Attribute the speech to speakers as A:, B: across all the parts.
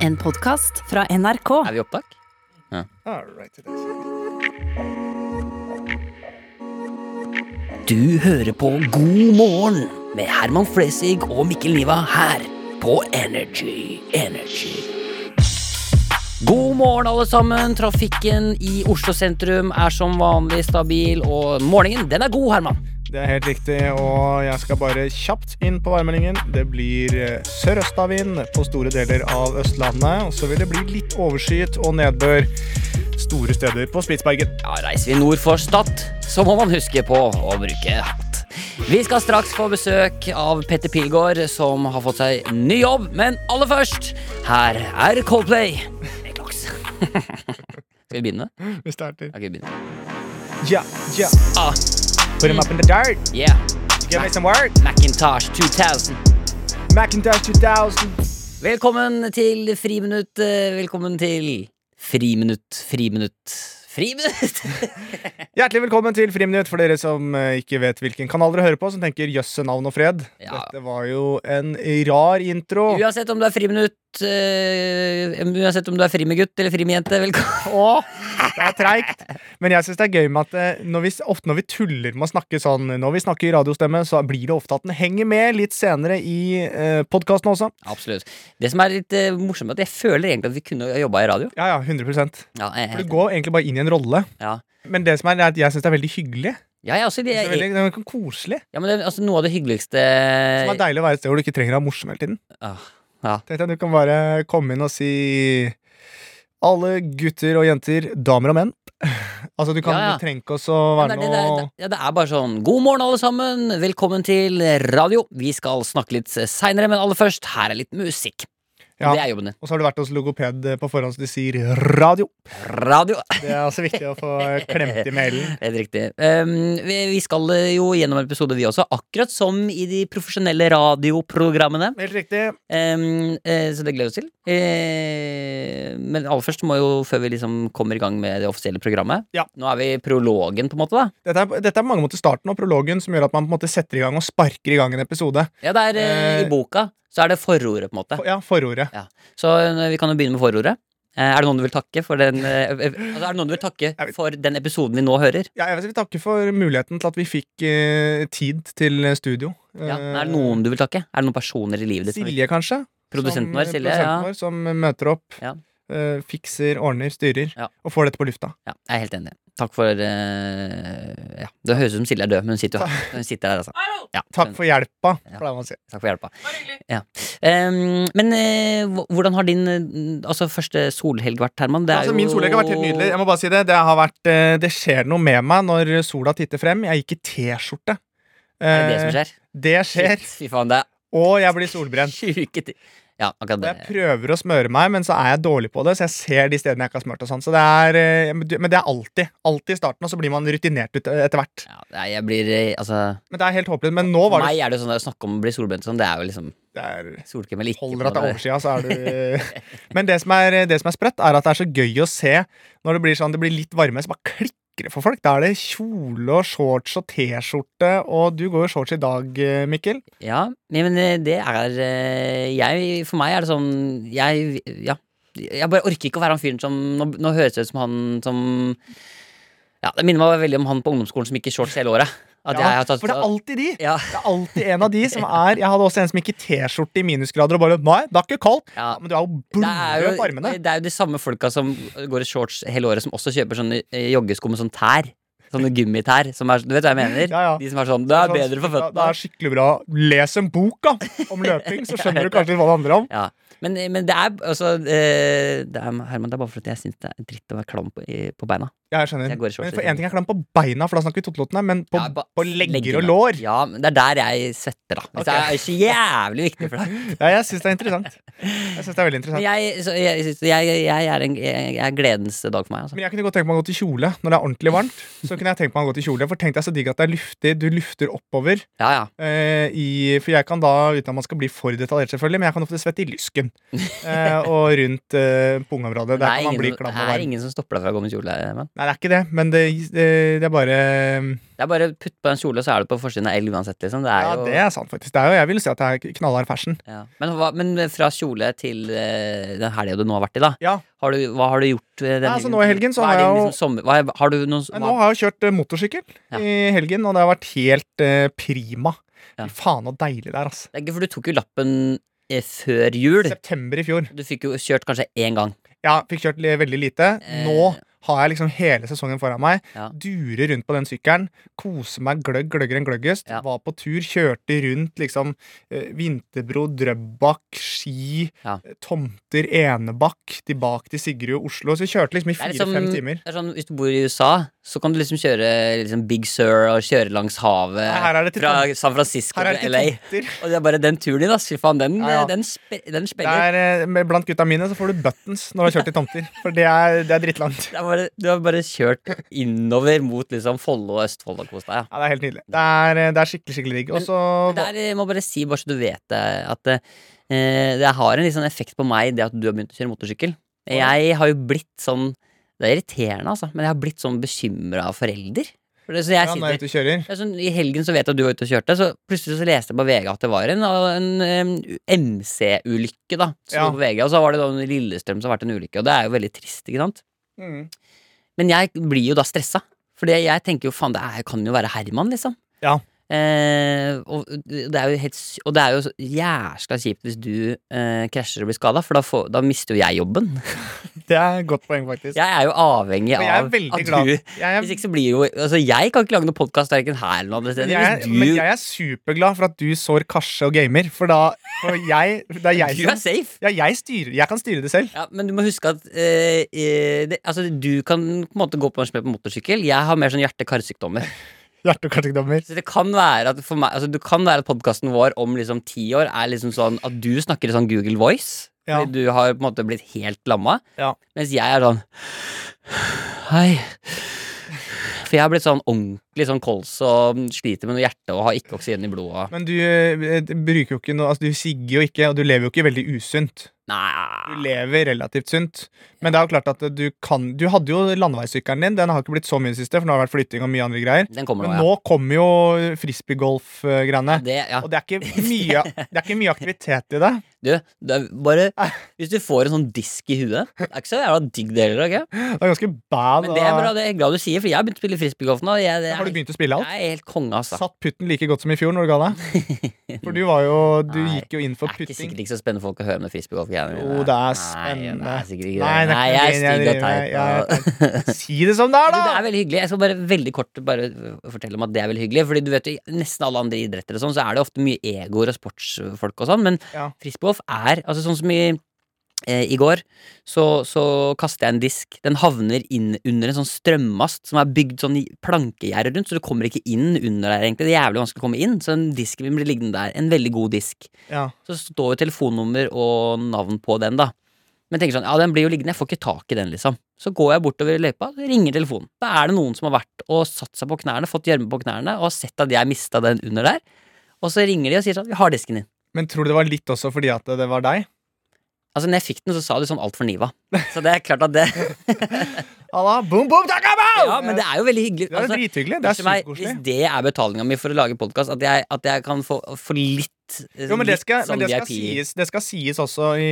A: En podkast fra NRK.
B: Er vi i opptak? Du hører på God morgen med Herman Flesvig og Mikkel Niva her på Energy. Energy. God morgen, alle sammen. Trafikken i Oslo sentrum er som vanlig stabil, og morgenen den er god, Herman.
C: Det er helt riktig, og jeg skal bare kjapt inn på værmeldingen. Det blir eh, sørøstavind på store deler av Østlandet, og så vil det bli litt overskyet og nedbør store steder på Spitsbergen.
B: Ja, reiser vi nord for Stad, så må man huske på å bruke hatt. Vi skal straks få besøk av Petter Pilgaard, som har fått seg ny jobb. Men aller først, her er Coldplay. Med Glocks. skal vi begynne? Ja,
C: Vi starter.
B: skal vi begynne?
C: Ja, ja.
B: Ah,
C: Put them up in the dirt.
B: yeah.
C: Give me some work.
B: Macintosh 2000.
C: Macintosh 2000.
B: Velkommen til Friminutt. eh, Velkommen til Friminutt, Friminutt, Friminutt!
C: Hjertelig velkommen til Friminutt for dere som eh, ikke vet hvilken kanal dere hører på, som tenker jøsse navn og fred.
B: Ja.
C: Dette var jo en rar intro.
B: Uansett om du er friminutt, eh, uansett om du er frimigutt eller frimijente, velkommen.
C: Å, det er treigt. Men jeg syns det er gøy med at eh, når vi, ofte når vi tuller med å snakke sånn Når vi snakker i radiostemme, så blir det ofte at den henger med litt senere i eh, podkasten også.
B: Absolutt. Det som er litt eh, morsomt, er at jeg føler egentlig at vi kunne jobba i radio.
C: Ja, ja, 100 For
B: Ja, jeg,
C: du går egentlig bare inn i en rolle.
B: ja.
C: Men det som er, er at jeg syns det er veldig hyggelig.
B: ja jeg, også, det,
C: Det er veldig, det er veldig koselig.
B: ja, men det, altså, noe av det hyggeligste
C: Det er deilig å være et sted hvor du ikke trenger å være morsom hele tiden.
B: Ah, ja.
C: Tenk deg, du kan bare komme inn og si alle gutter og jenter, damer og menn. Altså, du, kan,
B: Ja, ja.
C: du trenger ikke også å
B: Men
C: være
B: det, er- det,
C: noe
B: er- ja, det er bare sånn God morgen, alle sammen! Velkommen til radio. Vi skal snakke litt seinere, men aller først, her er litt musikk.
C: Ja.
B: Det er jobben din.
C: Og så har du vært hos logoped eh, på forhånd, så de sier radio.
B: Radio.
C: Det er
B: altså
C: også viktig å få klemt i mailen.
B: Helt riktig. Um, vi, vi skal eh, jo gjennom en episode, vi også. Akkurat som i de profesjonelle radioprogrammene.
C: Helt riktig.
B: Um, eh, så det gleder vi oss til. Eh, men aller først må jo, før vi liksom kommer i gang med det offisielle programmet
C: Ja.
B: Nå er vi i prologen, på en måte. da
C: Dette er, dette er på mange måter starten og prologen som gjør at man på en måte setter i gang og sparker i gang en episode.
B: Ja, det er eh,
C: Eh,
B: I boka så er det forordet, på en måte.
C: For- Ja, forordet.
B: Så eh, vi kan jo begynne med forordet. Eh, er det noen du vil takke for den eh, eh, altså, Er det noen du vil
C: Jeg
B: takke
C: vet-
B: for den episoden vi nå hører?
C: Ja, jeg vil takke for muligheten til at vi fikk eh, tid til studio.
B: Ja.
C: Eh,
B: Er det noen du vil takke? Er det noen personer i livet ditt? som-
C: Silje, kanskje?
B: Produsenten
C: som-
B: vår, Silje.
C: Produsenten
B: Ja.
C: vår, som møter opp,
B: Ja.
C: eh, fikser, ordner, styrer,
B: Ja.
C: og får dette på lufta.
B: Ja, jeg er helt enig. Takk for eh, ja. Det høres ut som Silje er død, men hun sitter jo her. Hun sitter her altså. ja,
C: Takk
B: men-
C: for hjelpa,
B: Ja.
C: pleier man å si.
B: takk for hjelpa. Ja. Em, men eh, hv- hvordan har din eh, altså, første solhelg vært, Herman? Det er
C: altså, min
B: jo-
C: solhelg har vært helt nydelig. Jeg må bare si Det det, har vært, eh, det skjer noe med meg når sola titter frem. Jeg gikk i T-skjorte.
B: Er det det som
C: Eh,
B: skjer?
C: det skjer.
B: Shit, fy faen, det
C: Og jeg blir
B: er
C: solbrent.
B: sjuke ting. Ja, akkurat
C: Og Jeg
B: det.
C: prøver å smøre meg, men så er jeg dårlig på det. Så jeg ser de stedene jeg ikke har smørt. og sånn Så det er, eh, Men du- men det er alltid. Alltid i starten, og så blir man rutinert ut eh, etter hvert.
B: Ja, nei, jeg blir eh, Altså,
C: Men det er helt håpløst. Men nå
B: for
C: var det,
B: meg er det jo sånn å snakke om å bli solbrent og sånn, det er jo liksom
C: det er,
B: solkrem eller ikke.
C: Holder
B: på
C: at det
B: en måte.
C: er oversida, så er du Men det som er, det som er sprøtt, er at det er så gøy å se når det blir sånn Det blir litt varme, så bare klikker det for folk. Da er det kjole og shorts og T-skjorte, og du går jo shorts i dag, eh, Mikkel.
B: Ja, nei, men eh, det er eh, jeg, For meg er det sånn Jeg, ja Jeg bare orker ikke å være han fyren som Nå, nå høres det ut som han som Ja, det minner meg veldig om han på ungdomsskolen som gikk i shorts hele året At jeg
C: Ja,
B: har tatt sånn,
C: for det er alltid de.
B: ja,
C: Det er alltid en av de som er Jeg hadde også en som gikk i T-skjorte i minusgrader og bare Nei, det er ikke kaldt.
B: ja.
C: Ja, men du er jo
B: Det er,
C: blodrød på
B: jo,
C: armene.
B: det er jo de samme folka som går i shorts hele året, som også kjøper sånne eh, joggesko med sånn tær. Sånne gummitær. Som er, du vet hva jeg mener?
C: Ja, ja.
B: De som er sånn Det er bedre for
C: Det er
B: føttene.
C: skikkelig bra. Les en bok da, om løping, så skjønner du kanskje hva det handler om.
B: Ja. Men, men det er altså eh, det er, Herman, det er bare fordi jeg syns det er dritt å være klam på, i- på beina.
C: Ja, jeg skjønner.
B: Jeg går i shorts,
C: Men for
B: liksom.
C: en ting er klam på beina, for da snakker vi totelotene, men på,
B: Ja, ba-
C: på legger og
B: leggene.
C: lår.
B: Ja, men det er der jeg svetter, da. Hvis Det
C: Ok.
B: er så jævlig viktig for deg.
C: Ja, jeg syns det er interessant. Jeg synes det er veldig
B: Men
C: interessant.
B: jeg, så, jeg, jeg, jeg, jeg er en jeg, jeg er gledens dag for meg, altså.
C: Men jeg kunne godt tenkt meg å gå til kjole når det er ordentlig varmt. Så kunne jeg tenkt meg å gå til kjole For tenk deg så digg at det er luftig, du lufter oppover.
B: Ja, ja.
C: Eh, i, for jeg kan da, uten at man skal bli for detaljert, selvfølgelig, men jeg kan ofte svette i lysken. munnen eh, og rundt eh,
B: Det
C: pungeområdet. Der
B: er,
C: kan man bli
B: ingen,
C: klam
B: det er
C: og varm.
B: ingen som stopper deg fra å gå med kjole. Man.
C: Nei, det er ikke det, men det, det, det er bare
B: Det er bare å putte på en kjole, så er du på forsiden av L uansett. Liksom. Det er
C: Ja,
B: jo,
C: det er sant, faktisk. Det er jo, jeg vil si at det er knallhard fashion.
B: Ja. Men, hva, men fra kjole til eh, den helga du nå har vært i, da.
C: Ja.
B: Har du, hva har du gjort eh, denne
C: Nei, altså, nå i helgen så
B: Hva er
C: har jeg
B: din,
C: jo-
B: liksom, sommer, hva er, har du noen
C: Men
B: hva,
C: nå har jeg jo kjørt eh, motorsykkel
B: Ja.
C: i helgen, og det har vært helt eh, prima.
B: Ja.
C: Fy faen så deilig det er, altså.
B: Det er ikke for du tok jo lappen eh, før jul.
C: September i fjor.
B: Du fikk jo kjørt kanskje én gang.
C: Ja, fikk kjørt li- veldig lite.
B: Eh.
C: Nå har jeg liksom hele sesongen foran meg.
B: Ja.
C: Durer rundt på den sykkelen. Koser meg gløgg, gløgger enn gløggest.
B: Ja.
C: Var på tur, kjørte rundt liksom eh, Vinterbro, Drøbak, Ski,
B: Ja.
C: eh, Tomter, Enebakk, tilbake til Sigrud, Oslo. Så jeg kjørte liksom i
B: Det er
C: fire-fem
B: liksom-
C: timer.
B: Det er sånn, Hvis du bor i USA, så kan du liksom kjøre liksom Big Sur og kjøre langs havet.
C: Her er det til
B: fra
C: Tom-
B: San Francisco
C: Her er det
B: til
C: til
B: LA.
C: Tomter.
B: Og det er bare den turen din, ass. Fy faen, den,
C: Ja, ja.
B: den, spe, den
C: Det
B: spiller.
C: er, eh, med- blant gutta mine så får du buttons når du har kjørt i tomter. For det er, det er drittlangt.
B: Det er bare, du har bare kjørt innover mot liksom Follo og Østfold og kost deg. Ja.
C: Ja, det er helt nydelig. Det er, eh, det er skikkelig skikkelig digg. Og
B: Men-
C: så
B: Det er, jeg må bare si, bare så du vet det, at eh, det har en litt sånn effekt på meg, det at du har begynt å kjøre motorsykkel. Jeg har jo blitt sånn Det er irriterende, altså, men jeg har blitt sånn bekymra forelder. For det, så jeg
C: ja, når jeg er
B: sitter,
C: ute og kjører.
B: det er sånn, I helgen så vet jeg at du var ute og kjørte, så plutselig så leste jeg på VG at det var en, en, em, MC-ulykke, da. Som
C: Ja.
B: var på VG, Og så var det da en Lillestrøm som har vært en ulykke, og det er jo veldig trist, ikke sant?
C: Mm.
B: Men jeg blir jo da stressa. Fordi jeg tenker jo faen, det er, kan jo være Herman, liksom.
C: Ja.
B: Eh, og, det er jo helt, sy- og det er jo så jæskla kjipt hvis du eh, krasjer og blir skada, for da, får, da mister jo jeg jobben.
C: Det er et godt poeng, faktisk.
B: Jeg er jo avhengig
C: Men jeg er
B: av
C: veldig
B: at
C: glad.
B: du
C: Jeg er
B: Hvis ikke så blir jo Altså, jeg kan ikke lage noen podkast verken her eller andre
C: Men
B: steder.
C: jeg,
B: Hvis
C: men
B: du,
C: jeg er superglad for at du sår karse og gamer, for da for jeg, Det er jeg
B: du er
C: som
B: safe.
C: ja, jeg, styrer, jeg kan styre det selv.
B: Ja, men du må huske at eh, eh, det, altså, du kan på en måte gå på en smell på motorsykkel. Jeg har mer sånn hjerte-karsykdommer.
C: Hjerte- og karsykdommer.
B: Så det kan være at for meg altså, Det kan være at podkasten vår om liksom ti år er liksom sånn at du snakker i sånn Google Voice.
C: Ja.
B: Fordi du har på en måte blitt helt lamma.
C: Ja.
B: Mens jeg er sånn Hei. For jeg har blitt sånn ordentlig sånn kols og sliter med noe hjerte og har ikke oksygen i blodet.
C: Men du eh, bruker jo ikke noe Altså, du sigger jo ikke, og du lever jo ikke veldig usunt. Du
B: Nei.
C: lever relativt sunt. Men det er jo klart at du kan Du hadde jo landeveissykkelen din. Den har ikke blitt så mye i det siste, for nå har det vært flytting og mye andre greier.
B: Den kommer
C: Men
B: nå,
C: nå kommer jo frisbeegolf-greiene.
B: ja. Det, ja.
C: Og det er, ikke mye, det er ikke mye aktivitet i det.
B: Du, det er bare Hvis du får en sånn disk i huet Det er ikke så jævla digg det heller, ikke?
C: Det er ganske bad.
B: Men det er
C: og-
B: bra, det er jeg glad du sier, for jeg har begynt å spille frisbeegolf nå. og Jeg, det,
C: Har du
B: er,
C: begynt å spille alt?
B: jeg er helt konge, altså.
C: Satt putten like godt som i fjor når du ga deg? For du var jo Du
B: Nei,
C: gikk jo inn for
B: Det er ikke
C: putting.
B: sikkert ikke så spennende folk å høre om det frisbeegolf-greiene mine.
C: Jo, det er
B: Nei, det
C: spennende.
B: er sikkert ikke
C: Nei,
B: det.
C: det er
B: Nei, jeg er
C: ikke det jeg
B: stygg og
C: driver med. Jeg er
B: teit. og-
C: Si det som det er,
B: Men Det
C: da!
B: er veldig hyggelig. Jeg skal bare veldig kort bare fortelle om at det er veldig hyggelig. Fordi du vet jo, i nesten alle andre idretter og sånn, så er det ofte mye egoer og sportsfolk og sånn, men
C: Ja.
B: frisbeegolf er altså sånn som i Eh, I går så, så kaster jeg en disk. Den havner inn under en sånn strømmast som er bygd sånn i plankegjerde rundt, så du kommer ikke inn under der, egentlig. Det er jævlig vanskelig å komme inn, så den disken min blir liggende der. En veldig god disk.
C: Ja.
B: Så står jo telefonnummer og navn på den, da. Men tenker sånn, ja, den blir jo liggende, jeg får ikke tak i den, liksom. Så går jeg bortover i løypa, så ringer telefonen. Da er det noen som har vært og satt seg på knærne, fått gjørme på knærne, og har sett at jeg mista den under der. Og så ringer de og sier sånn, vi har disken din.
C: Men tror du det var litt også fordi at det var deg?
B: Altså, når jeg fikk den, så sa de sånn altfor niva. Så det er klart at det
C: Allah, boom, boom, taka, bow!
B: Ja, men det er jo veldig hyggelig.
C: Det er
B: Altså,
C: drithyggelig. Det er
B: unnskyld meg,
C: superkoselig.
B: hvis det er betalinga mi for å lage podkast, at, jeg- at jeg kan få, få litt eh,
C: Jo, men det
B: litt
C: skal,
B: sånn
C: men det
B: VIP.
C: skal, sies, det skal sies også i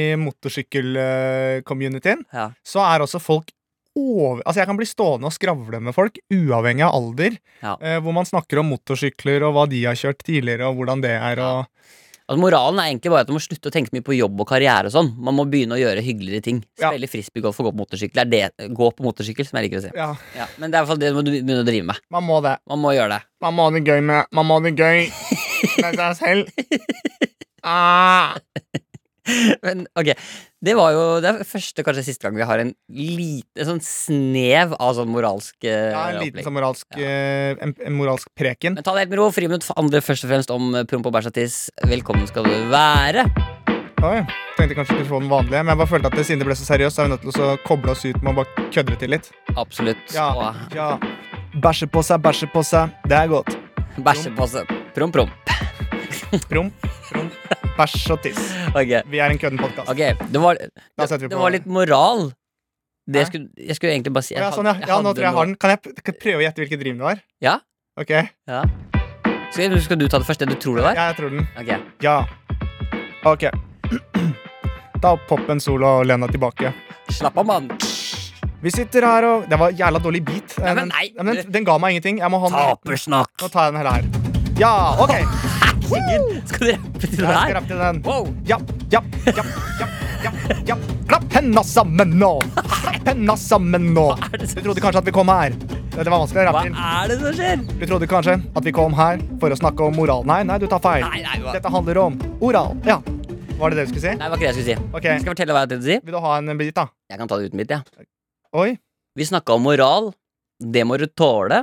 C: eh, motorsykkel-communityen.
B: Ja.
C: Så er også folk over... Altså, jeg kan bli stående og skravle med folk, uavhengig av alder,
B: Ja.
C: eh, hvor man snakker om motorsykler og hva de har kjørt tidligere, og hvordan det er, og
B: Altså Moralen er egentlig bare at du må slutte å tenke så mye på jobb og karriere og sånn. Man må begynne å gjøre hyggeligere ting.
C: Ja.
B: Spille frisbeegolf og gå på motorsykkel. Det er det, gå på motorsykkel, som jeg liker å si.
C: Ja,
B: Ja, men det er i hvert fall det du må begynne å drive med.
C: man må det.
B: Man må gjøre det.
C: Man må ha det gøy med Man må ha det gøy med seg selv. Ah.
B: Men ok, det var jo Det er første, kanskje siste gang vi har en lite sånn snev av sånn moralsk eh,
C: Ja, en liten
B: opplegg.
C: sånn moralsk, eh, en, en moralsk preken.
B: Men ta det helt med ro. Friminutt for andre først og fremst om eh, promp og bæsj og tiss. Velkommen skal du være.
C: Oi, tenkte kanskje vi skulle få den vanlige, men jeg bare følte at siden det ble så seriøst, så er vi nødt til å koble oss ut med å bare kødde det til litt.
B: Absolutt.
C: Ja,
B: Og
C: ja. Bæsje på seg, bæsje på seg. Det er godt.
B: bæsje på seg. Promp, promp.
C: Promp, promp, Bæsj og tiss.
B: Ok,
C: Vi er en kødden-podkast.
B: ok, det var,
C: Da setter vi
B: det
C: på-
B: var litt moral. Det
C: Hæ?
B: skulle, jeg skulle egentlig bare si jeg
C: Ja, sånn, ja.
B: had- jeg
C: ja, nå
B: hadde
C: tror jeg jeg
B: noe-
C: har den. Kan jeg p- kan jeg prøve å gjette hvilken driv det var?
B: Ja?
C: Ok, ja,
B: Ja. Skal, skal du ta det først, det du tror det var?
C: jeg tror den.
B: Ok.
C: Ja. Ok. Da popper en solo og len deg tilbake.
B: Slapp av, mann.
C: Vi sitter her og Det var jævla dårlig beat.
B: Ja, men
C: Den-
B: nei.
C: ja, men den, den ga meg ingenting. Jeg må ha den.
B: Tapersnakk.
C: Nå tar jeg den hele her. Ja, OK.
B: Herregud, skal du rappe til det
C: Jeg skal
B: her?
C: rappe til den.
B: Wow.
C: Ja, ja, ja, ja, ja, ja. Klapp henda sammen nå! Klapp henda sammen nå!
B: Hva er det
C: Du
B: som,
C: trodde kanskje at vi kom her. Det var vanskelig å
B: hva
C: rappe inn.
B: er det som skjer?
C: Du trodde kanskje at vi kom her for å snakke om moral. Nei, nei, du tar feil.
B: Nei, nei, hva?
C: Dette handler om oral. Ja. Var det det du skulle si?
B: Nei, det var ikke det jeg skulle si.
C: Ok,
B: Skal jeg fortelle hva jeg tenkte å si?
C: Vil du ha en bit, da?
B: Jeg kan ta det uten mitt, Ja.
C: Oi.
B: Vi snakka om moral. Det må du tåle.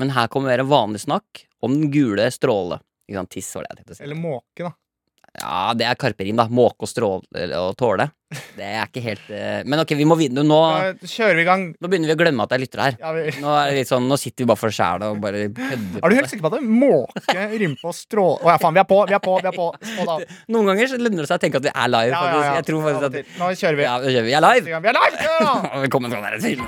B: Men her kommer mer vanlig snakk om den gule stråle. Ikke sant, tiss var det jeg tenkte å si.
C: Eller måke, da.
B: Ja, det er karperim, da. Måke og stråle og tåle. Det er ikke helt eh, Men ok, vi må videre. Nå,
C: Da kjører vi i gang.
B: nå begynner vi å glemme at det er lyttere her.
C: Ja, vi...
B: Nå er det litt sånn, nå sitter vi bare for sjæla og bare kødder.
C: Er du helt sikker på at det er måke, rympe og stråle Å ja, faen, vi er på, vi er på, vi er på. Skål, da.
B: Noen ganger så lønner det seg å tenke at vi er live.
C: Ja, ja,
B: faktisk.
C: ja.
B: Jeg tror faktisk at
C: Nå kjører vi.
B: Ja, nå kjører vi. Vi er live!
C: Vi er live! Ja!
B: Velkommen skal dere til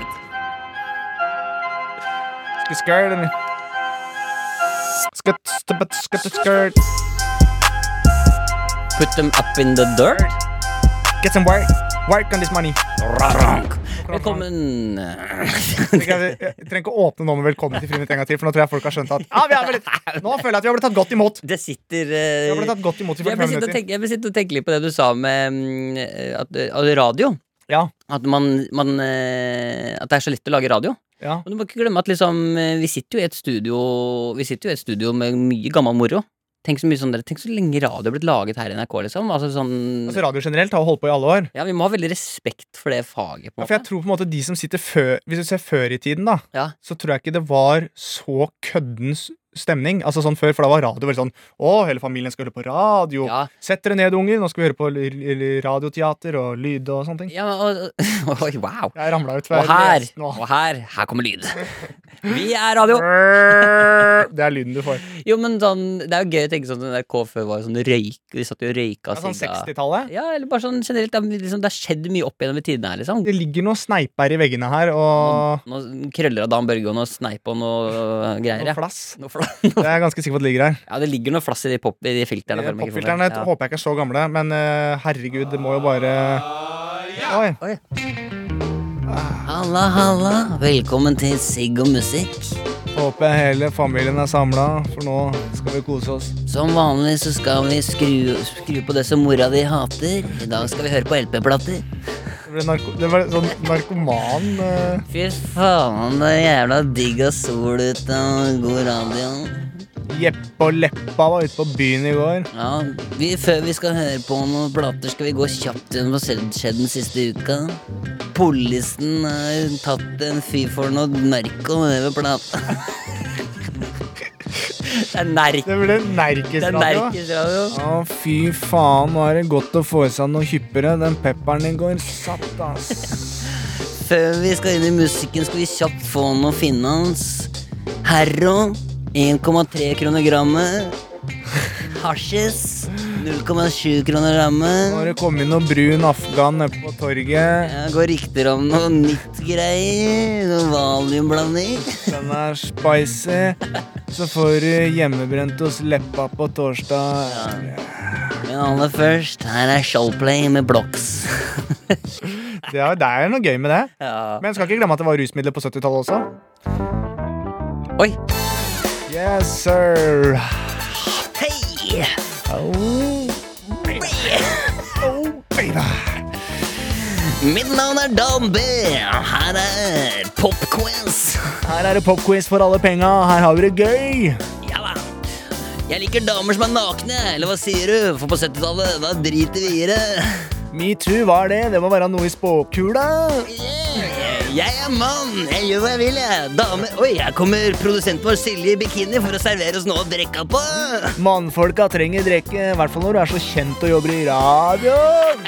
C: Skutt, skutt, skutt, skutt, skutt.
B: Put them up in the dirt.
C: Get some work. Work on this money.
B: Rarank. Velkommen.
C: Jeg trenger ikke å åpne nå med 'velkommen til Friminutt' en gang til, for nå tror jeg folk har skjønt at ja, vi er vel litt... Nå føler jeg at vi har blitt tatt godt imot.
B: Det sitter
C: Vi
B: eh,
C: har blitt tatt godt imot i
B: jeg ble
C: 45
B: sitte og
C: minutter.
B: tenke, jeg ble sitte og tenke litt på det du sa med mm, at, at radio.
C: Ja.
B: At, man, man, eh, at det er så lett å lage radio.
C: Ja.
B: Men du må ikke glemme at liksom, eh, vi sitter jo i et studio Vi sitter jo i et studio med mye gammel moro. Tenk så mye sånn, dere- tenk så lenge radio har blitt laget her i NRK, liksom. Altså, sånn,
C: Altså, radio generelt har holdt på i alle år.
B: ja, vi må ha veldig respekt for det faget. på en
C: Ja, for jeg
B: måte
C: tror på en måte de som sitter før Hvis du ser før i tiden, da,
B: Ja.
C: så tror jeg ikke det var så køddens stemning. Altså sånn før, For da var radio veldig sånn Å, hele familien skal høre på radio.
B: Ja,
C: Sett dere ned, unger. Nå skal vi høre på l- l- radioteater og lyd og sånne ting.
B: ja og, Oi, wow.
C: Jeg ramla ut. for
B: Og
C: jeg
B: her,
C: leste nå.
B: og her, her kommer lyd. Vi er radio.
C: Det er lyden du får.
B: Jo, men sånn, det er jo gøy å tenke sånn at NRK før var jo sånn røyk. Vi satt jo og røyka.
C: Det er sånn
B: sigga.
C: 60-tallet.
B: Ja, eller bare sånn generelt. Det, er liksom, det har skjedd mye opp gjennom i tidene her, liksom.
C: Det ligger noen sneiper i veggene her,
B: Sånn.
C: og
B: Noen krøller av Dan Børge og noe sneip og noe øh, greier. Ja.
C: noe sånn flass.
B: Noe fla-
C: Det er jeg ganske sikker på at det ligger her.
B: ja, det ligger noe flass i de, pop, i de filterne.
C: Eh,
B: foran
C: Popfilterne
B: mikrofonen. Ja.
C: håper jeg ikke er så gamle, men eh, herregud, det må jo bare Oi.
B: Halla, halla. Velkommen til Sigg og musikk.
C: Håper jeg hele familien er samla, for nå skal vi kose oss.
B: Som vanlig så skal vi skru, skru på det som mora di hater. I dag skal vi høre på LP-plater.
C: Det ble, narko det ble sånn narkoman eh.
B: Fy faen, det er jævla digg av sol ute og god radio.
C: Jeppe og Leppa var ute på byen i går.
B: Ja, vi, før vi skal høre på noen plater, skal vi gå kjapt gjennom hva som skjedd den siste uka. Polisen har tatt en fyr for noe narko over plata. det er nerk.
C: Det
B: Det
C: ble
B: er
C: nerkesradio.
B: nerkesradio.
C: Å, fy faen, nå er det godt å få i seg noe hyppigere. Den pepperen i går satt, ass.
B: Før vi skal inn i musikken, skal vi kjapt få noe finans. Herro 1,3 kroner grammet. Hasjis 0,7 kroner
C: Nå har
B: grammet.
C: det kommet inn noe brun afghan nede på torget.
B: Det går rykter om noe nytt greier. Noe valiumblanding.
C: Den er spicy. Så får du hjemmebrent hos Leppa på torsdag.
B: Men aller først, her er Showplay med Blocks.
C: Det er, det er noe gøy med det.
B: Ja.
C: Men skal ikke glemme at det var rusmidler på 70-tallet også.
B: Oi!
C: Yes, sir.
B: Hei!
C: Oh, baby. Oh, baby.
B: Mitt navn er Dan B. Her er Popquiz.
C: Her er det popquiz for alle penga. Her har vi det gøy.
B: Ja da. Jeg liker damer som er nakne, eller hva sier du? For på 70-tallet, da driter vi i det.
C: Metoo var det. Det må være noe i spåkula.
B: Yeah. Jeg er mann, jeg gjør hva jeg vil, jeg. Dame Oi, her kommer produsenten vår Silje i bikini for å servere oss noe å drikke på.
C: Mannfolka trenger drikke, i hvert fall når du er så kjent og jobber i radioen.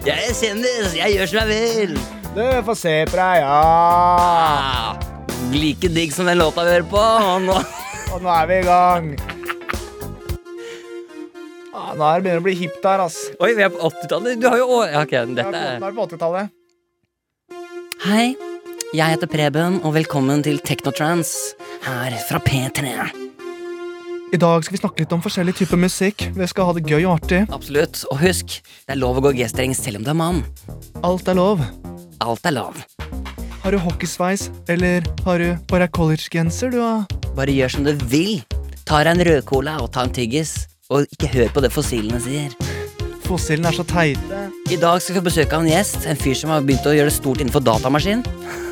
B: Jeg er kjendis, jeg gjør som jeg vil.
C: Du får se på deg, ja.
B: Ah, like digg som den låta vi hører på. Og nå
C: Og nå er vi i gang. Ah, nå er det begynner det å bli hipt der, ass.
B: Oi, vi er på 80-tallet. Du har jo å- ja, Ok,
C: Ja,
B: dette
C: Nå
B: er
C: er det på 80-tallet.
A: Hei, jeg heter Preben, og velkommen til Teknotrans her fra P3.
C: I dag skal vi snakke litt om forskjellige typer musikk. Vi skal ha det gøy og artig.
B: Absolutt. Og husk, det er lov å gå G-streng selv om du er mann.
C: Alt er lov.
B: Alt er lov.
C: Har du hockeysveis, eller har du bare collegegenser, du, da?
B: Bare gjør som du vil. Ta deg en rødcola og ta en tyggis. Og ikke hør på det fossilene sier.
C: Fossilene er så teite.
B: I dag skal vi få besøk av en gjest. En fyr som har begynt å gjøre det stort innenfor datamaskin.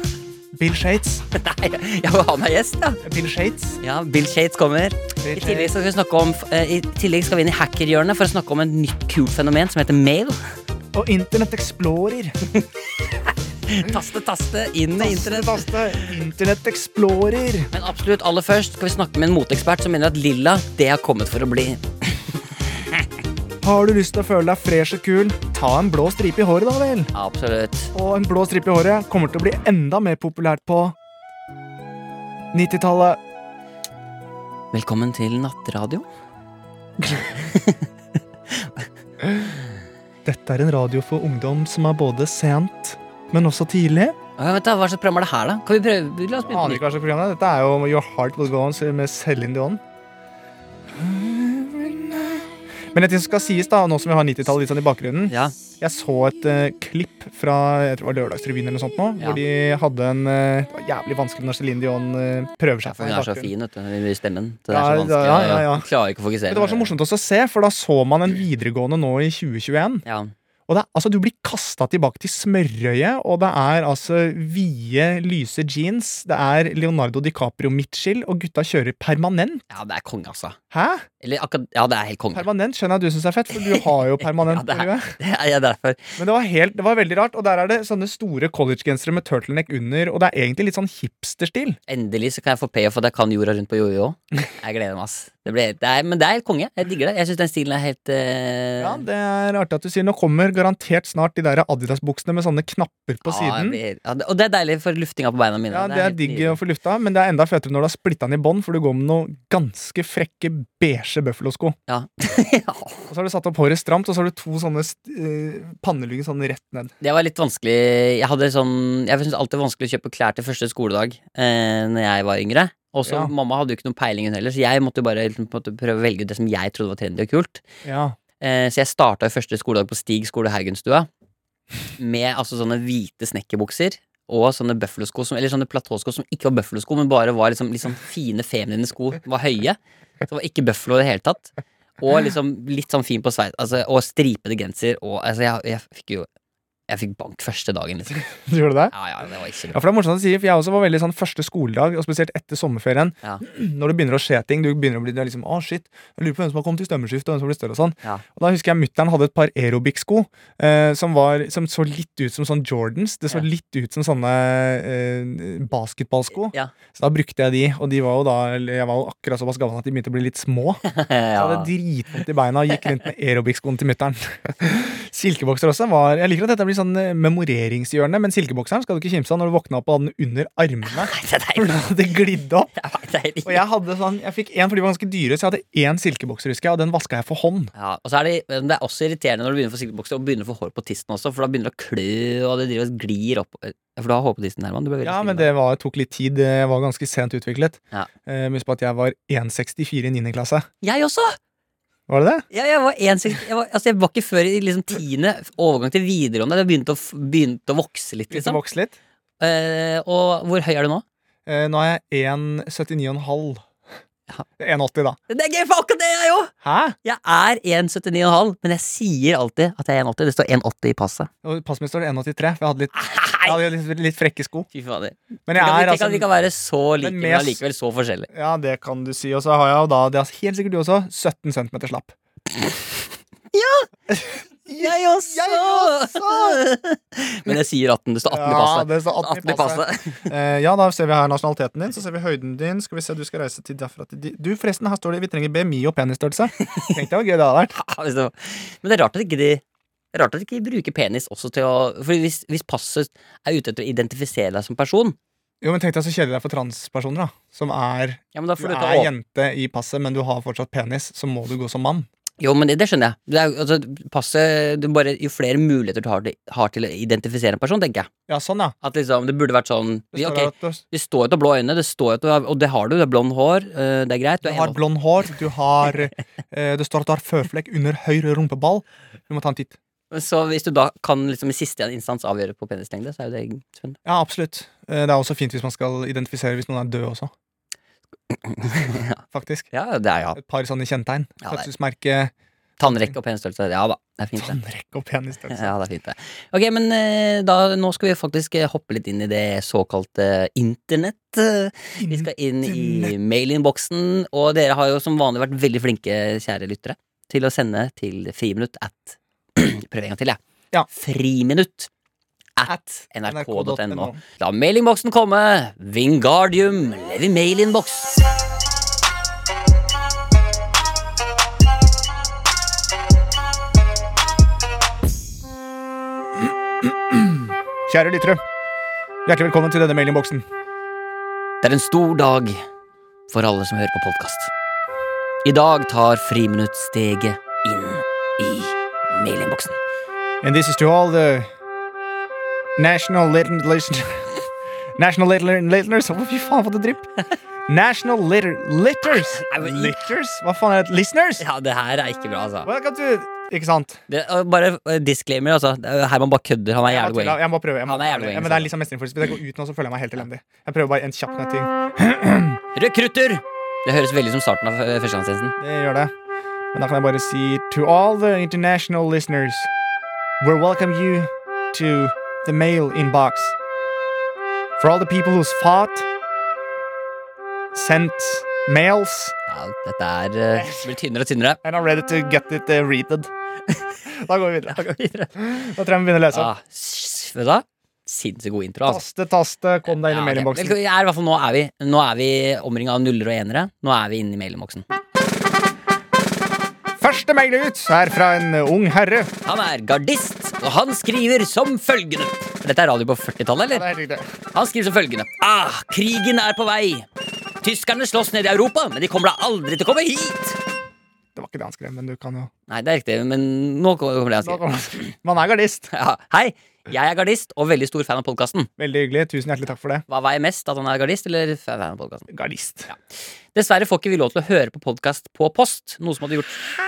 C: Bill Shates.
B: Nei, jeg må ha meg gjest, ja.
C: Bill Shates.
B: Ja, Bill Shates kommer.
C: Bill
B: I tillegg
C: Shates.
B: skal vi, snakke om, eh, i tillegg skal vi inn i hackerhjørnet for å snakke om et nytt kult fenomen som heter mail.
C: Og Internett Explorer.
B: Taste, taste, inn i internett.
C: Taste, taste. Internett Explorer.
B: Men absolutt aller først skal vi snakke med en moteekspert som mener at lilla, det har kommet for å bli.
C: Har du lyst til å føle deg fresh og kul, ta en blå stripe i håret, da vel.
B: Absolutt.
C: Og en blå stripe i håret kommer til å bli enda mer populært på 90-tallet.
B: Velkommen til nattradio.
C: Dette er en radio for ungdom som er både sent, men også tidlig.
B: Å, vent da, Hva slags program er det her, da? Kan vi prøve? La oss begynne på
C: Aner
B: nytt.
C: ikke hva slags program det er. Dette er jo Your Heart Will Go On med Celine Dion. Men det som skal sies da, nå som vi har 90-tallet litt sånn i bakgrunnen
B: Ja.
C: Jeg så et eh, klipp fra jeg tror det var Lørdagsrevyen eller noe sånt nå,
B: Ja.
C: hvor de hadde en eh, det var jævlig vanskelig når Celine Dion eh, prøver seg.
B: For hun
C: i
B: er så
C: bakgrunnen.
B: fin, vet du. i Stemmen. Det er
C: Ja,
B: så vanskelig.
C: ja, ja, ja.
B: å- Klarer ikke å fokusere.
C: Men det var så morsomt også å se, for da så man en videregående nå i 2021.
B: Ja.
C: Og det er, altså, du blir kasta tilbake til smørøyet, og det er altså vide, lyse jeans. Det er Leonardo DiCaprio Mitchell, og gutta kjører permanent.
B: ja, det er konge, altså.
C: Hæ?
B: Eller akkurat Ja, det er helt konge.
C: Permanent skjønner jeg at du syns er fett, for du har jo
B: Ja,
C: permanent.
B: det er-
C: miljø.
B: Det er jeg derfor.
C: Men det var, helt, det var veldig rart. Og der er det sånne store collegegensere med turtleneck under, og det er egentlig litt sånn hipsterstil.
B: Endelig så kan jeg få payoff at jeg kan jorda rundt på jojo òg. Jeg gleder meg, ass. Det ble, det er, men det er helt konge. Jeg digger det. Jeg syns den stilen er helt eh,
C: Ja, det er artig at du sier Nå kommer garantert snart de der Adidas-buksene med sånne knapper på
B: ja, jeg
C: siden.
B: blir- ja, det- og det er deilig for luftinga på beina mine.
C: Ja, det er
B: helt
C: digg
B: nydelig.
C: å få lufta, men det er enda fetere når du har splitta den i bånd, for du går med noen ganske frekke beige bøffelosko.
B: Ja. ja.
C: Og så har du satt opp håret stramt, og så har du to sånne uh, pannelugger sånn rett ned.
B: Det var litt vanskelig. Jeg hadde sånn Jeg syns alltid det var vanskelig å kjøpe klær til første skoledag eh, Når jeg var yngre. Og så
C: Ja.
B: Mamma hadde jo ikke noen peiling hun heller, så jeg måtte jo bare liksom, på en måte prøve å velge ut det som jeg trodde var trendy og kult.
C: Ja.
B: Eh, så jeg starta første skoledag på Stig skole Haugenstua med altså sånne hvite snekkerbukser. Og sånne bøffelosko, som, eller sånne platåsko som ikke var bøffelosko, men bare var liksom, liksom fine feminine sko. Var høye. Så var ikke bøffelo i det hele tatt. Og liksom litt sånn fin på sveis. Altså, og stripete genser. Og altså, jeg, jeg fikk jo Jeg fikk bank første dagen, liksom.
C: Du gjør det der?
B: Ja, ja, det var ikke
C: Ja,
B: bra.
C: for det er morsomt å si, for jeg også var veldig sånn første skoledag, og spesielt etter sommerferien,
B: Ja.
C: når det begynner å skje ting, du begynner å bli du er liksom, å shit, jeg lurer på hvem som har kommet i stemmeskiftet, og hvem som blir større og sånn.
B: Ja.
C: Og da husker jeg mutteren hadde et par aerobic-sko eh, som, var- som så litt ut som sånn Jordans, det så
B: Ja.
C: litt ut som sånne eh, basketballsko.
B: Ja.
C: Så da brukte jeg de, og de var jo da, eller jeg var jo akkurat såpass gammel at de begynte å bli litt små. Så jeg
B: Ja.
C: hadde dritvondt i beina og gikk rundt med aerobic-skoen til mutter'n. Silkebokser også var Jeg liker at dette blir sånn eh, memoreringshjørne, men silkebokseren skal du ikke kimse av når du våkna opp og hadde den under armene.
B: Nei, det er
C: For da
B: deilig.
C: hadde det glidd opp.
B: Det er deilig.
C: Og jeg hadde sånn Jeg fikk en, for de var ganske dyre, så jeg hadde én silkebokser, husker jeg, og den vaska jeg for hånd.
B: Ja, og så er det, men det er også irriterende når du begynner å få silkebokser og begynner å få hår på tissen også, for da begynner det å klø, og det driver og glir opp For du har hår på tissen, Herman? Du ble veldig
C: Ja,
B: stille
C: men
B: der.
C: det var, tok litt tid. Jeg var ganske sent utviklet.
B: Ja.
C: Eh, Husk på at jeg var 1,64 i 9. klasse.
B: Jeg også!
C: Var det det?
B: Ja, jeg var 1,60 jeg, var- altså, jeg var ikke før i liksom tiende overgang til videregående. Jeg begynte å, f- begynte å vokse litt,
C: Begynte å
B: liksom.
C: vokse litt.
B: Eh, og hvor høy er du nå?
C: Eh, Nå er jeg 1,79,5.
B: Ja.
C: 1,80, da.
B: Det er gøy for akkurat det, jeg òg!
C: Hæ?
B: Jeg er 1,79,5, men jeg sier alltid at jeg er 1,80. Det står 1,80 i passet.
C: Og Passet mitt står det 1,83, for jeg hadde litt, jeg
B: Nei!
C: hadde litt, litt frekke sko.
B: Fy fader. Tenk
C: Men
B: at vi-
C: jeg er
B: tenk at vi
C: altså
B: kan være så like,
C: Men
B: men,
C: med-
B: allikevel så forskjellige.
C: Ja, det kan du si. Og så har jeg jo da, det er helt sikkert du også, 17 cm slapp.
B: Jeg også! men jeg sier 18. Det står 18 i
C: Ja,
B: passet.
C: det står 18 i passet.
B: passet.
C: Eh, ja, da ser vi her nasjonaliteten din, så ser vi høyden din. Skal vi se, du skal reise til derfra til di- Du, forresten, her står det vi trenger BMI og penisstørrelse. Tenk deg hvor gøy det hadde vært.
B: Ja, hvis det var- Men det er rart at ikke de det er Rart at de ikke bruker penis også til å Fordi hvis, hvis passet er ute etter å identifisere deg som person
C: Jo, men tenk deg så kjedelig det er for transpersoner, da. Som er
B: Ja, men da
C: Du
B: får du, til
C: er
B: å åpne
C: jente i passet, men du har fortsatt penis, så må du gå som mann.
B: Jo, men det, det skjønner jeg. Det er, jo- altså, passe, du bare, jo flere muligheter du har til, har til å identifisere en person, tenker jeg.
C: Ja, sånn, ja.
B: At liksom, Det burde vært sånn
C: Det
B: vi,
C: står
B: ok,
C: at du,
B: Det står jo at du har blå øyne, det står jo at du har, og det har du. Du har blond hår, eh, det er greit.
C: du har blond hår, du har eh, Det står at du har føflekk under høyre rumpeball. Du må ta en titt.
B: Så hvis du da kan liksom i siste instans avgjøre på penislengde, så er jo det spennende.
C: Ja, absolutt. Eh, Det er også fint hvis man skal identifisere hvis noen er død også. Faktisk.
B: Ja, det er ja.
C: Et par sånne kjennetegn.
B: Ja, det er-
C: Fødselsmerke,
B: Tannrekke og penstørrelse. Ja da, det er fint, det.
C: tannrekke og penisstørrelse.
B: Ja, det er fint det. Ok, men eh, da, nå skal vi faktisk eh, hoppe litt inn i det såkalte internett. eh. Vi skal inn i mailinnboksen, og dere har jo som vanlig vært veldig flinke, kjære lyttere, til å sende til friminutt at Prøv en gang til, jeg.
C: Ja.
B: Friminutt at nrk.no. La mailinnboksen komme! Vingardium levi mailinnboks!
C: Kjære lyttere, hjertelig velkommen til denne mailingboksen.
B: Det er en stor dag for alle som hører på podkast. I dag tar Friminutt steget inn i mailinnboksen.
C: And this is to all the National Litter... listen- National Litter... Litters Hva fy faen, for et drypp! National Litter... Litters!
B: Nei, men-
C: Litters? Hva faen er det? Listeners?
B: Ja, det her er ikke bra, altså.
C: Welcome to Ikke sant?
B: Det, og bare eh, disclaimer, altså. Det er jo Herman bare kødder. Han er
C: Jeg må
B: jævlig god. i
C: tulla,
B: engelsk.
C: jeg må prøve. Jeg må,
B: Han er jævlig
C: ja, men det er liksom mestringsfølelse. Hvis jeg går ut nå, så føler jeg meg helt elendig. Jeg prøver bare en kjapp ting.
B: Rekrutter! Det høres veldig som starten av eh, førstegangstjenesten.
C: Det gjør det. Men da kan jeg bare si to all the international listeners, we welcome you to the mail inbox. For all the people who's fought, sent mails,
B: Ja, dette er eh, blir tynnere og tynnere.
C: and are ready to get it uh, readed. Da går vi videre.
B: Da går vi videre.
C: Da tror jeg vi begynner å lese. opp.
B: Ah, s- vet du hva? Sinnssykt god intro, altså.
C: Taste, taste, kom deg inn i
B: Ja, ok.
C: mailinnboksen.
B: Vel, jeg er i hvert fall- Nå er vi, nå er vi omringa av nuller og enere. Nå er vi inne i mailinnboksen.
C: Første mail ut er fra en ung herre.
B: Han er gardist, og han skriver som følgende Dette er radio på 40-tallet,
C: Ja, det
B: eller?
C: er helt riktig.
B: Han skriver som følgende Ah, krigen er på vei Tyskerne slåss ned i Europa, men de kommer da aldri til å komme hit
C: Det var ikke det han skrev, men du kan jo
B: Nei, det er riktig, men nå kommer det han
C: Da
B: skriver
C: kan man- Man er gardist.
B: ja. Hei, jeg er gardist, og veldig stor fan av podcasten
C: Veldig hyggelig. Tusen hjertelig takk for det.
B: Hva veier mest, at han er gardist, eller fan av podcasten?
C: Gardist.
B: Dessverre får ikke vi lov til å høre på podcast på post Noe som hadde gjort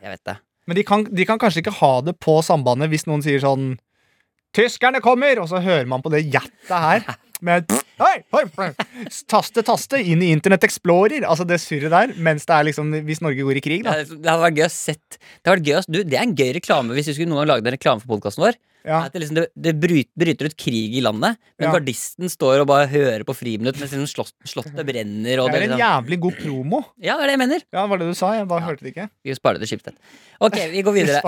B: Jeg vet det
C: Men de kan, de kan kanskje ikke ha det på sambandet hvis noen sier sånn Tyskerne kommer! Og så hører man på det gjettet her. Med hei, hei, hei. Taste, taste inn i Internett Explorer. Altså det surret der. Mens det er liksom Hvis Norge går i krig,
B: Ja,
C: da.
B: det det hadde vært gøy å sett Det hadde vært gøy å Du, det er en gøy reklame Hvis vi skulle noen gang lage en reklame for podcasten vår
C: Ja.
B: At det, liksom, det, det bryter, bryter ut krig i landet Men
C: Ja.
B: gardisten står og bare hører på friminutt Mens liksom slott, slottet brenner og
C: Det
B: det,
C: er
B: liksom.
C: en jævlig god promo.
B: Ja, det er det jeg mener
C: Ja, var det du sa? Jeg bare hørte det ikke.
B: Vi sparer det til Schibsted Ok, vi går videre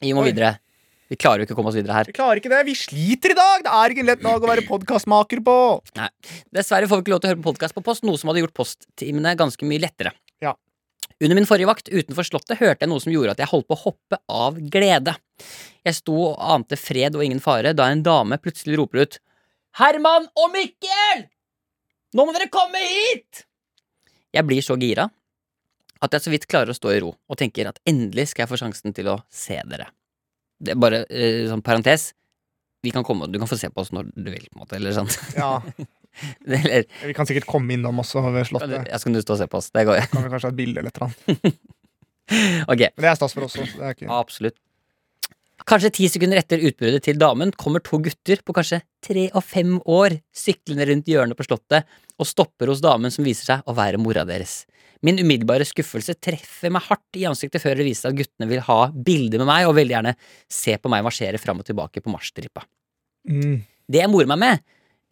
C: Vi
B: Vi må
C: Oi.
B: videre Vi klarer jo ikke å komme oss videre her
C: klarer ikke det. Vi sliter i dag! Det er ikke en lett dag å være podkastmaker på.
B: Nei. Dessverre får vi ikke lov til å høre på podcast på post Noe som hadde gjort posttimene ganske mye lettere
C: Ja.
B: Under min forrige vakt utenfor slottet hørte jeg noe som gjorde at jeg holdt på å hoppe av glede Jeg sto og ante fred og ingen fare Da en dame plutselig roper ut Herman og Mikkel! Nå må dere komme hit! Jeg blir så gira at jeg så vidt klarer å stå i ro og tenker at endelig skal jeg få sjansen til å se dere. Det er bare eh, sånn parentes. Vi kan komme, du kan få se på oss når du vil, på en måte. Eller sånn.
C: Ja,
B: Eller,
C: Vi kan sikkert komme innom også
B: kan du,
C: ved Slottet.
B: ja, så kan du stå og se på oss. Det går jo.
C: Kan vi kanskje ha et bilde eller noe?
B: Ok,
C: Men det er stas for oss også. Det er ikke...
B: absolutt. Kanskje ti sekunder etter utbruddet til damen kommer to gutter på kanskje tre og fem år syklende rundt hjørnet på slottet og stopper hos damen som viser seg å være mora deres. Min umiddelbare skuffelse treffer meg hardt i ansiktet før det viser seg at guttene vil ha bilder med meg og veldig gjerne se på meg marsjere fram og tilbake på marsjstrippa.
C: Mm.
B: Det jeg morer meg med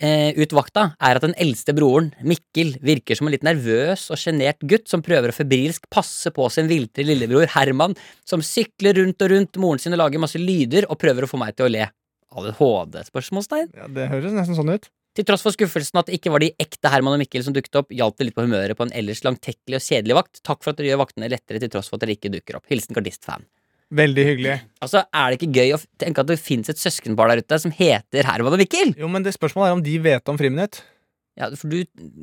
B: eh, ut vakta, er at den eldste broren, Mikkel, virker som en litt nervøs og sjenert gutt som prøver å febrilsk passe på sin viltre lillebror Herman, som sykler rundt og rundt moren sin og lager masse lyder og prøver å få meg til å le. ADHD? spørsmålstegn?
C: Ja, det høres nesten sånn ut.
B: Til tross for skuffelsen at det ikke var de ekte Herman og Mikkel som dukket opp, hjalp det litt på humøret på en ellers langtekkelig og kjedelig vakt. Takk for at dere gjør vaktene lettere til tross for at dere ikke dukker opp. Hilsen gardistfan.
C: Veldig hyggelig.
B: Altså, er det ikke gøy å f- tenke at det fins et søskenpar der ute som heter Herman og Mikkel?
C: Jo, men det Spørsmålet er om de vet om friminutt.
B: Ja, for du,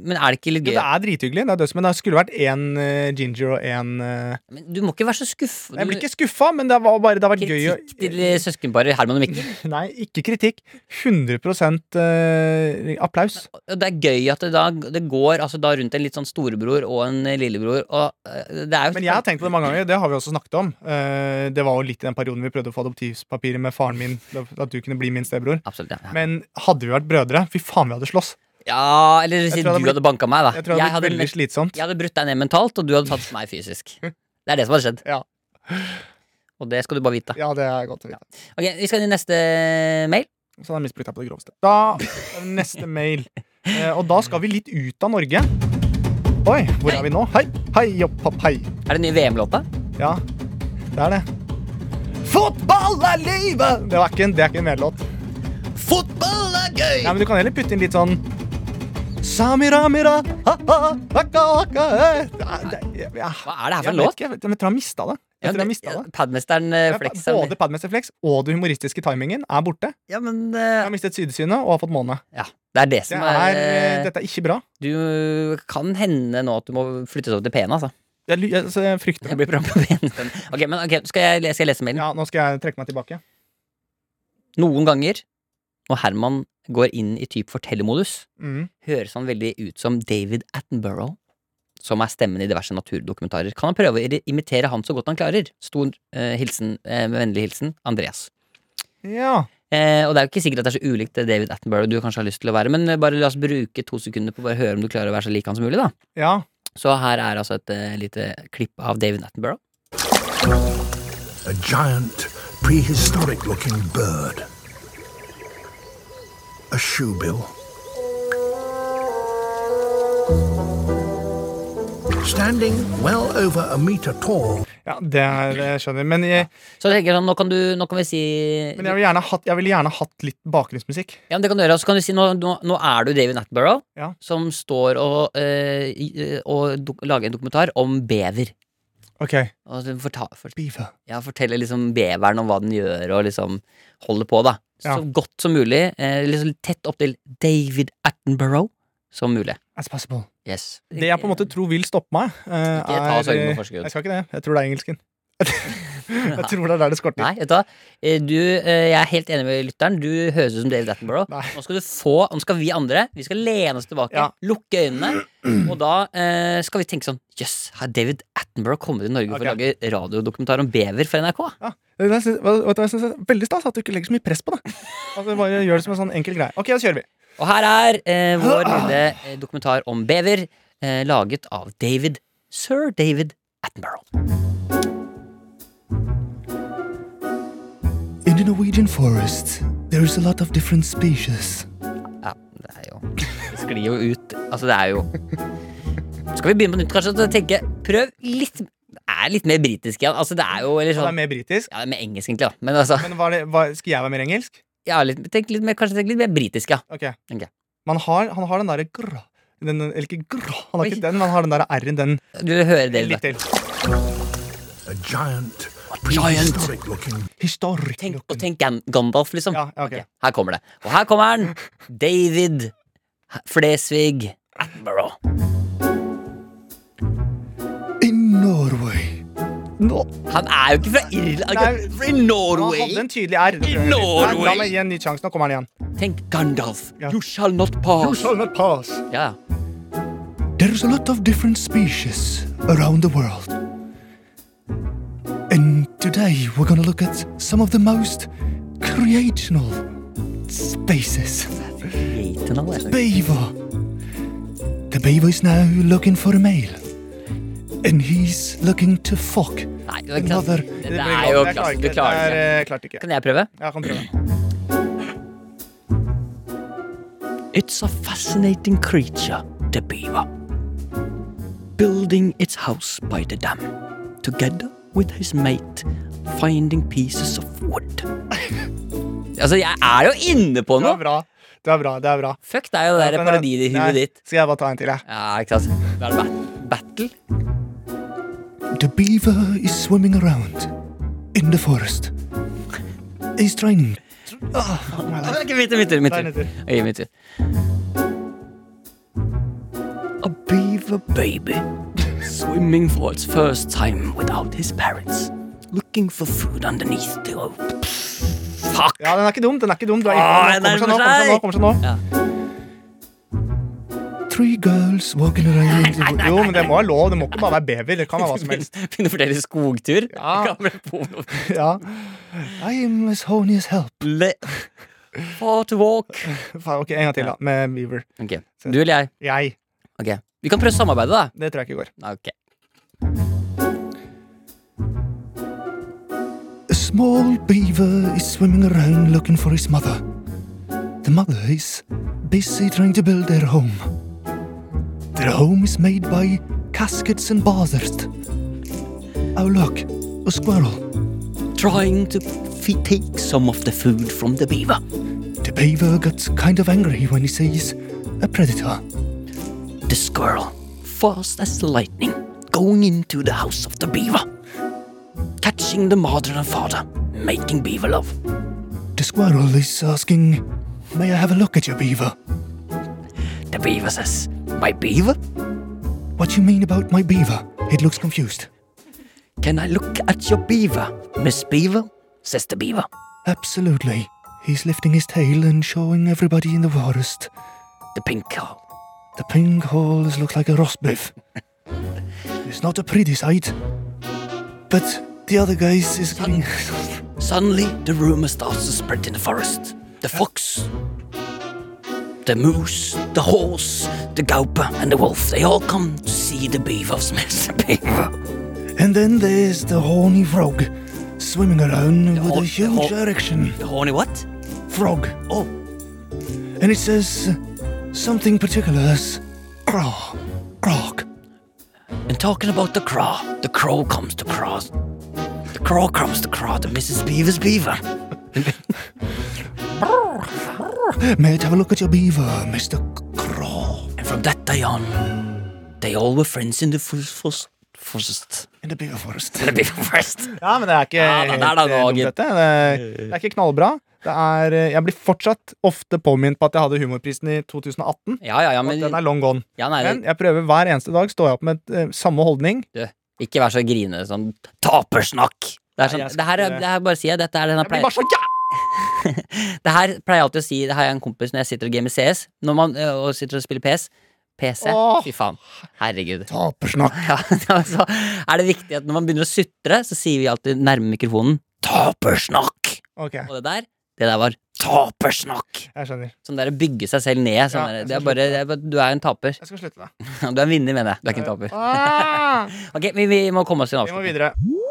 B: men er det ikke litt
C: Jo,
B: gøy?
C: det er drithyggelig, det er døds, men det skulle vært én eh, ginger og én
B: Men du må ikke være så skuffa.
C: Jeg blir ikke skuffa, men det var bare det har vært gøy å Mm.
B: Kritikk til eh, søskenparet Herman og Mikkel.
C: Nei, ikke kritikk. 100 eh, applaus.
B: Og Det er gøy at det da det går altså da rundt en litt sånn storebror og en eh, lillebror. Og eh, det er jo
C: Men jeg har tenkt på det mange ganger, det har vi også snakket om. Eh, det var jo litt i den perioden vi prøvde å få adoptivpapirer med faren min, at du kunne bli min stebror.
B: Absolutt, ja.
C: Men hadde vi vært brødre, fy faen, vi hadde slåss.
B: ja eller si du
C: Jeg tror det hadde
B: hadde banka meg, da.
C: Jeg tror det hadde blitt
B: hadde,
C: veldig slitsomt.
B: jeg hadde brutt deg ned mentalt, og du hadde tatt meg fysisk. Det er det som hadde skjedd.
C: Ja.
B: Og det skal du bare vite.
C: Ja, det er godt å vite.
B: Ok, Vi skal til neste eh, mail.
C: Så han har misbrukt deg på det groveste. Da, neste mail. Eh, og da skal vi litt ut av Norge. Oi, hvor er vi nå? Hei, hei, jopp, hopp, hei.
B: Er det den nye VM-låta?
C: Ja, det er det. Fotball er livet! Det var ikke en, det er ikke en medlåt.
D: Fotball er gøy!
C: Nei, men du kan heller putte inn litt sånn Samiramira, ha-ha, hakka, hakka, eh. Det er- det-
B: Hva er det
C: ja.
B: her for
C: Jeg
B: en
C: vet
B: låt?
C: ikke, jeg vet- men jeg tror jeg har mista det. Jeg tror jeg har mistet det.
B: Padmesteren eh,
C: Jeg-
B: Flex. er-
C: Både Padmester Flex og det humoristiske timingen er borte.
B: Ja, men
C: Jeg har
B: eh,
C: mistet sydesynet og har fått måne.
B: ja, Det er det
C: Det
B: som
C: er,
B: er,
C: eh,
B: eh,
C: dette er ikke bra.
B: Du kan hende nå at du må flyttes over til P-en, altså.
C: Jeg, ly- jeg, så jeg frykter
B: Jeg
C: det.
B: blir program på P-en. Ok, men ok, skal, jeg, le- skal jeg lese mailen?
C: Ja, nå skal jeg trekke meg tilbake.
B: Noen ganger, når Herman går inn i typ fortellermodus,
C: Mm.
B: høres han veldig ut som David Attenborough, som er stemmen i diverse naturdokumentarer. Kan han prøve å iri- imitere han så godt han klarer? Stor eh, hilsen, eh, med vennlig hilsen Andreas.
C: Ja.
B: Eh, og det er jo ikke sikkert at det er så ulikt det David Attenborough du kanskje har lyst til å være, men eh, bare la oss bruke to sekunder på å bare høre om du klarer å være så lik han som mulig, da.
C: ja.
B: Så her er altså et eh, lite klipp av David Attenborough.
E: a giant, prehistoric looking bird, a shoebill, standing well over a metre tall.
C: ja det er, jeg skjønner Men jeg,
B: Så jeg tenker sånn, nå kan du, nå kan vi si
C: men jeg ville gjerne, hatt- jeg vil gjerne hatt litt bakgrunnsmusikk.
B: Ja, men det kan du gjøre. Og så kan du si, nå, nå, nå er du David Attenborough,
C: Ja.
B: som står og, eh, i- og dok lager en dokumentar om bever.
C: OK.
B: Og så forta, for,
C: Beaver.
B: ja, forteller liksom beveren om hva den gjør, og liksom holder på, da. Så
C: Ja.
B: godt som mulig. Eh, liksom tett opp til David Attenborough som mulig.
C: As possible.
B: Yes.
C: Det jeg på en måte tror vil stoppe meg, eh,
B: Ikke ta
C: er
B: sorgen
C: eh,
B: på forskudd.
C: Jeg skal ikke det. Jeg tror det er engelsken. jeg tror det er der det skorter.
B: Nei, vet du hva? Eh, Du, eh, jeg er helt enig med lytteren. Du høres ut som David Attenborough.
C: Nei.
B: Nå skal du få, nå skal vi andre Vi skal lene oss tilbake,
C: Ja.
B: lukke øynene, og da eh, skal vi tenke sånn Jøss, yes, har David Attenborough kommet til Norge for å
C: Ok.
B: lage radiodokumentar om bever for NRK?
C: Ja. Det er- Vet du hva jeg synes er veldig stas? At du ikke legger så mye press på det. At du bare gjør det som en sånn enkel greie. Ok, da kjører vi.
B: Og her er eh, vår lille eh, dokumentar om bever, eh, laget av David Sir David Attenborough.
F: In the Norwegian forests, there is a lot of different species.
B: Ja, det er jo Det sklir jo ut. Altså, det er jo Skal vi begynne på nytt, kanskje? Og tenke Prøv litt Det er litt mer britisk igjen. Altså, det er jo eller
C: Og det er
B: sånn
C: mer britisk.
B: Ja, det er med engelsk, egentlig. da Men altså
C: Men var det, var, skal jeg være mer engelsk?
B: ja, litt, tenk litt mer, Kanskje tenk litt mer britisk, ja.
C: Ok.
B: Ok.
C: Man har, han har den derre grå den, den- Eller ikke grå, han har
B: Oi.
C: ikke den, men han har den derre r-en, den
B: Du hører det.
C: litt
B: da.
C: til.
E: A giant,
B: giant.
E: prehistoric looking
C: Historic.
B: Tenk, og tenk Gan- Gandalf, liksom.
C: Ja, ja, ok.
B: Ok, Her kommer det. Og her kommer han! David Flesvig Attenborough.
F: In Norway,
C: Nå-
B: Han er jo ikke fra Irland. Han er
C: Nei,
B: ikke fra
C: Han
B: Norway.
C: hadde en tydelig r.
B: I
C: Nei,
B: Norway.
C: La meg gi en ny sjanse. Nå kommer han igjen.
B: Tenk Gandalf.
C: Ja.
B: You shall not pass. Ja.
F: there is a lot of different species around the world. And today we're gonna look at some of the most creational species.
B: Gaten, han er.
F: Beaver. The beaver is now looking for a male. And he's looking to fuck.
B: Nei, det er ikke sant.
F: Mother.
B: Det-
C: Det
B: Det
C: blir
B: er jo
C: godt. Jeg
B: klasse.
C: ikke.
B: Du klarer
C: Det
B: det.
C: er, eh, klarte ikke.
B: Kan jeg prøve?
C: Jeg kan prøve.
D: It's a fascinating creature, the beaver. Building its house by the dam, together with his mate, finding pieces of wood.
B: Altså, jeg er jo inne på
C: Det er
B: noe!
C: bra. Det er bra. det er bra
B: Fuck, det er jo det der
C: Men, eh,
B: parodiet i huet
C: nei,
B: ditt.
C: Skal jeg bare ta en til, jeg?
B: Ja, ikke sant. Da er det bat- battle.
F: The beaver is swimming around in the forest. He's trying.
B: Ah, det er ikke min tur, min tur, min
C: Det er
B: tur. Ok, min tur. a baby, swimming for its first time without his parents, looking for food underneath the open. Fuck!
C: Ja, den er ikke dum. den er ikke dum Du er
A: Åh,
C: inne på den. Kommer seg nå, kommer seg nå. kommer seg nå
F: Three girls walking around.
C: Jo, men det må være lov. Det må ikke bare være bever. Det kan være hva som helst.
A: Begynne å fortelle skogtur.
C: Ja.
A: Gamle porno.
C: Ja,
F: I am as horny as hell.
A: Le... Fart walk.
C: faen, Ok, En gang til, da. Med beaver.
A: Ok, Du eller jeg?
C: Jeg.
A: Ok, Vi kan prøve samarbeidet, da.
C: Det tror jeg ikke går.
A: Nei, Ok
F: A small beaver is swimming around looking for his mother. The mother is busy trying to build their home. Their home is made by caskets and bathurst. Oh, look, a squirrel.
B: Trying to f- take some of the food from the beaver.
F: The beaver gets kind of angry when he sees a predator.
B: The squirrel, fast as lightning, going into the house of the beaver. Catching the mother and father, making beaver love.
F: The squirrel is asking, May I have a look at your beaver?
B: The beaver says, My beaver?
F: What do you mean about my beaver? It looks confused.
B: Can I look at your beaver, Miss Beaver? says the beaver.
F: Absolutely. He's lifting his tail and showing everybody in the forest.
B: The pink cow.
F: The pink holes look like a roast beef. it's not a pretty sight. But the other guys is getting.
B: Suddenly, the rumor starts to spread in the forest. The fox, the moose, the horse, the gauper, and the wolf, they all come to see the beaver's Miss Beaver.
F: and then there's the horny frog swimming around with
B: hor-
F: a
B: the
F: huge
B: hor-
F: erection.
B: The horny what?
F: Frog.
B: Oh.
F: And it says something particular as. Craw. Crog.
B: And talking about the craw, the crow comes to craw. The crow comes to craw to Mrs. Beaver's beaver.
F: May I have a look at your beaver, Mr. Craw?
B: And from that day on, they all were friends in the fos- fos- forest.
F: In the beaver forest.
B: The beaver forest.
C: Ja, men det er ikke
A: Ja, da, der er det
C: helt, eh, dumt,
A: dagen.
C: dette. Det, det er ikke knallbra. Det er, eh, jeg blir fortsatt ofte påminnet på at jeg hadde Humorprisen i 2018.
A: Ja, ja, ja,
C: Og
A: men,
C: at den er long gone.
A: ja, nei,
C: Men jeg prøver hver eneste dag står jeg opp med eh, samme holdning.
A: Ikke vær så grinende sånn.
B: Tapersnakk.
A: Det, er sånn,
C: Nei, jeg skal
A: det, her, er-
C: ikke-
A: det her bare sier jeg. Dette er den jeg
C: Jeg blir
A: pleier
C: bare så ja!
A: Det her pleier jeg alltid å si. Det har jeg en kompis når jeg sitter og gamer CS. Når man ø, og sitter og spiller PS. PC.
C: Åh.
A: Fy faen. Herregud.
F: Tapersnakk.
A: Ja, så er det viktig at når man begynner å sutre, så sier vi alltid nærme mikrofonen
B: Tapersnakk.
C: Ok,
A: og det der. Det der var
B: Tapersnakk.
C: jeg skjønner.
A: sånn der bygge seg selv ned. Sånn der.
C: Ja, jeg
A: Det er
C: skal
A: bare,
C: slutte.
A: det er bare, du er en taper.
C: Jeg skal slutte, da.
A: Du er en vinner, mener jeg. Du er ikke en taper.
C: Ah!
A: Ok, vi, vi må komme oss til en
C: Vi må
A: avslutning.
C: videre.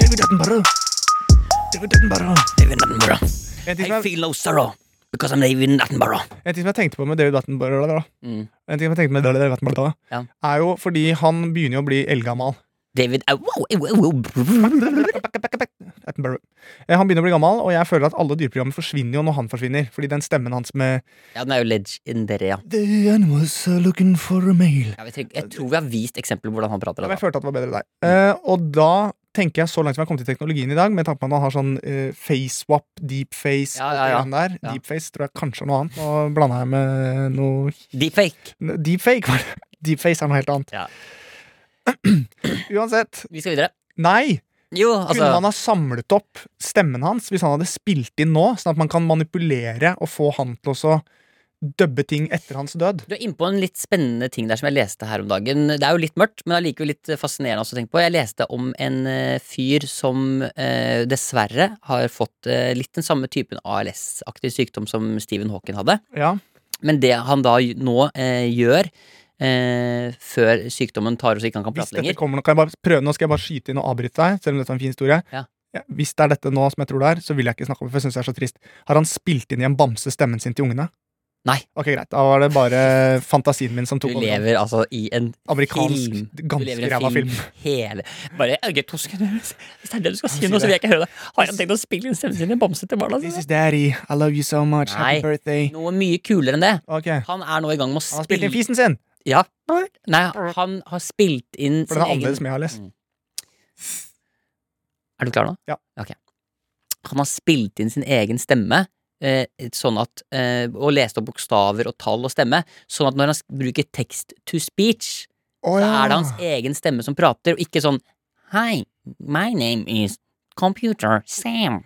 F: David Attenborough. David Attenborough.
B: David Attenborough.
C: En ting,
B: I
C: som jeg,
B: feel no sorrow because I'm David Attenborough.
C: en ting som jeg tenkte på med David Attenborough, da,
A: Mm.
C: En ting som jeg tenkte med David Attenborough da,
A: Ja.
C: er jo fordi han begynner jo å bli eldgammal.
A: David au, au, au, au, au.
C: Attenborough. Eh, Han begynner å bli gammel, og jeg føler at alle dyreprogrammer forsvinner jo når han forsvinner. Fordi den stemmen hans med
A: Ja, den er jo legendary, ja.
F: The animals are looking for a male.
A: Ja, vi trenger- jeg tror vi har vist eksempler på hvordan han prater. altså.
C: Jeg
A: Da.
C: følte at det var bedre der.
A: Mm.
C: Eh, og da tenker jeg så langt som jeg har kommet i teknologien i dag, med tanke på at man har sånn eh, face-swap, deepface
A: Ja,
C: og
A: ja, ja.
C: det der.
A: Ja.
C: Deepface tror jeg kanskje er noe annet. Nå blanda jeg med noe
A: Deepfake.
C: Deepfake, var det. Deepface er noe helt annet.
A: Ja.
C: Uansett.
A: Vi skal videre.
C: Nei!
A: Jo, altså
C: Kunne man ha samlet opp stemmen hans hvis han hadde spilt inn nå, sånn at man kan manipulere og få han til også dubbe ting etter hans død?
A: Du er inne på en litt spennende ting der som jeg leste her om dagen. Det er jo litt mørkt, men allikevel litt eh, fascinerende også å tenke på. Jeg leste om en eh, fyr som eh, dessverre har fått eh, litt den samme typen ALS-aktig sykdom som Stephen Hawking hadde.
C: Ja.
A: Men det han da gj- nå eh, gjør eh, før sykdommen tar oss så ikke han kan
C: Hvis
A: prate
C: dette
A: lenger
C: kommer, nå kan jeg bare prøve, nå skal jeg bare skyte inn og avbryte deg, selv om dette er en fin historie.
A: Ja.
C: hvis det er dette nå som jeg tror det er, så vil jeg ikke snakke om det, for jeg synes det er så trist. Har han spilt inn i en bamse stemmen sin til ungene?
A: Nei.
C: Ok, greit. Da var det bare fantasien min som
A: Du
C: tok over.
A: lever altså i en
C: Amerikansk,
A: film. Du lever i en
C: ganske ræva film.
A: Hele Bare ok, to sekunder. Hvis det er det du skal si nå, så vil jeg ikke høre det. Har han tenkt å spille inn stemmen sin i bamse til barna
C: This
A: sine?
C: is daddy. I love you so much.
A: Nei.
C: Happy birthday.
A: Noe mye kulere enn det.
C: Ok.
A: Han
C: Han
A: er nå i gang med å
C: har spilt
A: spille
C: inn fisen sin.
A: Ja. Nei, han har spilt inn
C: For den
A: sin
C: er
A: egen Mm.
C: annerledes som jeg har lest.
A: Er du klar nå?
C: Ja.
A: Ok. Han har spilt inn sin egen stemme
B: eh, sånn at, eh, og leste opp bokstaver og tall og stemme, sånn at når han s- bruker text to speech,
C: Å,
B: så
C: ja.
B: er det hans egen stemme som prater, og ikke sånn Hi, my name is Computer Sam.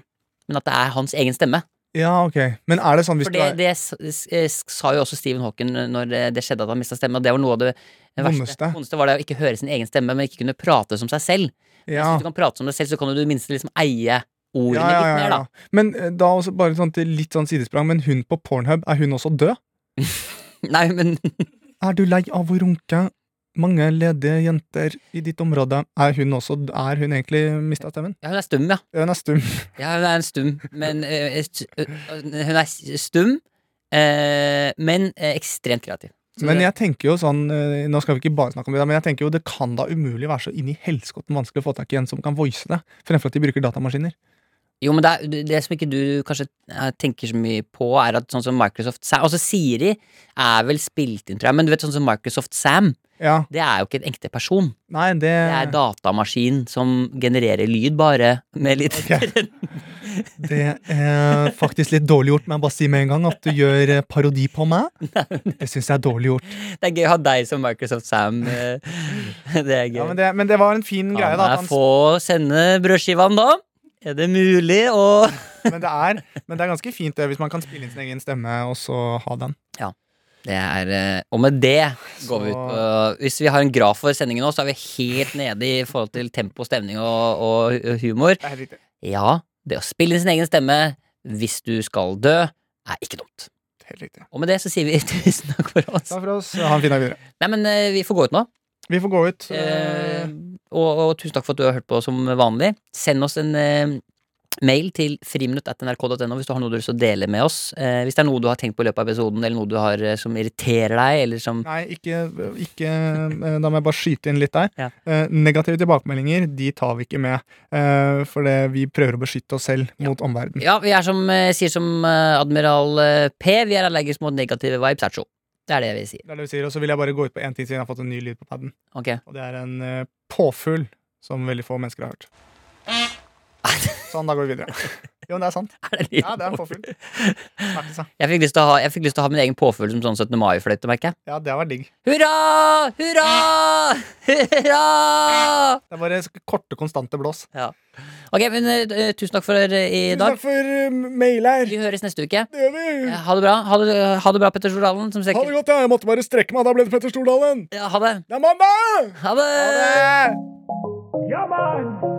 B: Men at det er hans egen stemme.
C: Ja, ok. Men er det sånn hvis
B: For
C: du
B: det,
C: er
B: det s- s- eh, sa jo også Stephen Hawken eh, når det, det skjedde at han mista stemme, og det var noe av det verste.
C: Vondeste.
B: Vondeste var det å ikke høre sin egen stemme, men ikke kunne prate som seg selv.
C: ja.
B: Hvis du kan prate som deg selv, så kan du i det minste liksom eie ordene
C: Ja, ja, ja,
B: litt mer,
C: ja.
B: da.
C: Men eh, da også bare sånn til litt sånn sidesprang, men hun på Pornhub, er hun også død?
B: Nei, men
C: Er du lei av å runke? Mange ledige jenter i ditt område. Er hun også Er hun egentlig mista stemmen?
B: ja, hun er stum, ja.
C: Hun er um- stum.
B: ja hun er en stum, men eh, eh, st- eh, Hun er s- stum, eh, men eh, ekstremt kreativ. Så
C: Men
B: det-
C: jeg tenker jo sånn eh, Nå skal vi ikke bare snakke om det, men jeg tenker jo det kan da umulig være så inn i helskotten vanskelig å få tak i en som kan voice det, fremfor at de bruker datamaskiner.
B: Jo, men det, er, det- det som ikke du kanskje eh, tenker så mye på, er at sånn som Microsoft Sam Altså Siri er vel spilt inn, tror jeg, men du vet sånn som Microsoft Sam,
C: Ja.
B: det er jo ikke en ekte person.
C: Nei, det
B: Det er datamaskin som genererer lyd, bare, med litt
C: Det er faktisk litt dårlig gjort, men jeg bare si med en gang at du gjør eh, parodi på meg. Det syns jeg er dårlig gjort.
B: Det er gøy å ha deg som Microsoft Sam. eh, Det er gøy.
C: Ja, men, det, men det var en fin greie,
B: Kan
C: da. at
B: jeg
C: han-
B: få sende brødskivene, da? Er det mulig å
C: Men det, er, men det er ganske fint det, hvis man kan spille inn sin egen stemme og så ha den.
B: Det er eh, Og med det går vi ut på Hvis vi har en graf for sendingen nå, så er vi helt nede i forhold til tempo, stemning og, og humor.
C: Det er helt riktig.
B: Ja, det å spille inn sin egen stemme hvis du skal dø, er ikke dumt.
C: Helt riktig.
B: Og med det så sier vi tusen takk for oss.
C: Takk for oss. Ha en fin dag videre.
B: Nei, men eh, vi får gå ut nå.
C: Vi får gå ut.
B: Eh, og, og tusen takk for at du har hørt på som vanlig. Send oss en eh, mail til friminutt.nrk.no hvis du har noe du har lyst til å dele med oss. Eh, hvis det er noe du har tenkt på i løpet av episoden, eller noe du har eh, som irriterer deg, eller som
C: Nei, ikke, ikke eh, Da må jeg bare skyte inn litt der.
B: Ja.
C: Eh, Negative tilbakemeldinger de tar vi ikke med. eh, For det, vi prøver å beskytte oss selv mot omverdenen.
B: Ja, vi er som eh, sier som eh, Admiral eh, P, vi er allergiske mot negative vibes, ertsjo. Det er det vi sier.
C: Det er det vi sier. Og så vil jeg bare gå ut på én ting siden jeg har fått en ny lyd på paden.
B: Ok.
C: Og det er en eh, påfugl som veldig få mennesker har hørt. Sånn, da går vi videre. Jo, men det er sant.
B: Er det
C: Ja, det er en påfugl. Snakkes, da.
B: Jeg fikk lyst til å ha, jeg fikk lyst til å ha min egen påfugl som sånn 17. mai-fløyte, merker jeg.
C: Ja, det var digg.
B: Hurra! Hurra! Hurra!
C: Det er bare korte, konstante blås.
B: Ok, men eh, tusen takk for eh, i dag.
C: Takk for eh, mail her.
B: Vi høres neste uke.
C: Det gjør vi.
B: Eh, Ha det bra, ha det, ha det bra Petter Stordalen. Som
C: Ha
B: sikkert-
C: det godt, ja. jeg måtte bare strekke meg. Da ble det Petter Stordalen.
B: Ja, ha det.
C: Det er mandag!
B: Ha det!
C: Ha det!
G: Ja, mann!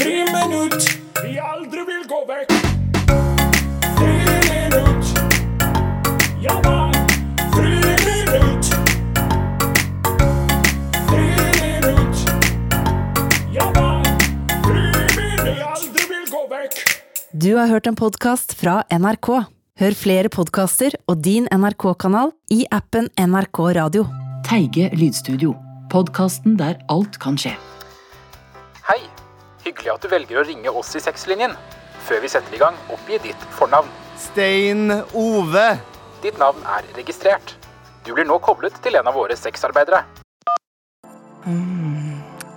G: Friminutt, vi aldri vil gå vekk. Friminutt, ja, mann. Friminutt. Friminutt. Ja, mann. Friminutt. Aldri vil gå vekk.
H: Du har hørt en podkast fra NRK. Hør flere podkaster og din NRK-kanal i appen NRK Radio.
I: Teige lydstudio. Podkasten der alt kan skje.
J: Hei! Hyggelig at du velger å ringe oss i sexlinjen. Før vi setter i gang, oppgi ditt fornavn.
K: Stein Ove.
J: Ditt navn er registrert. Du blir nå koblet til en av våre sexarbeidere.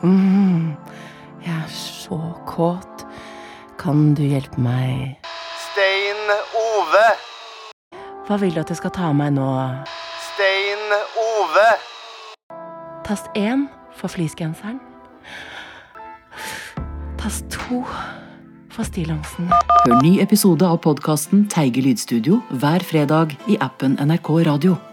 I: Mm, jeg er så kåt. Kan du hjelpe meg?
K: Stein Ove.
I: Hva vil du at jeg skal ta av meg nå?
K: Stein Ove.
I: Tast én for fleecegenseren. Tast to for stillongsen. Hør ny episode av podkasten Teige lydstudio hver fredag i appen NRK Radio.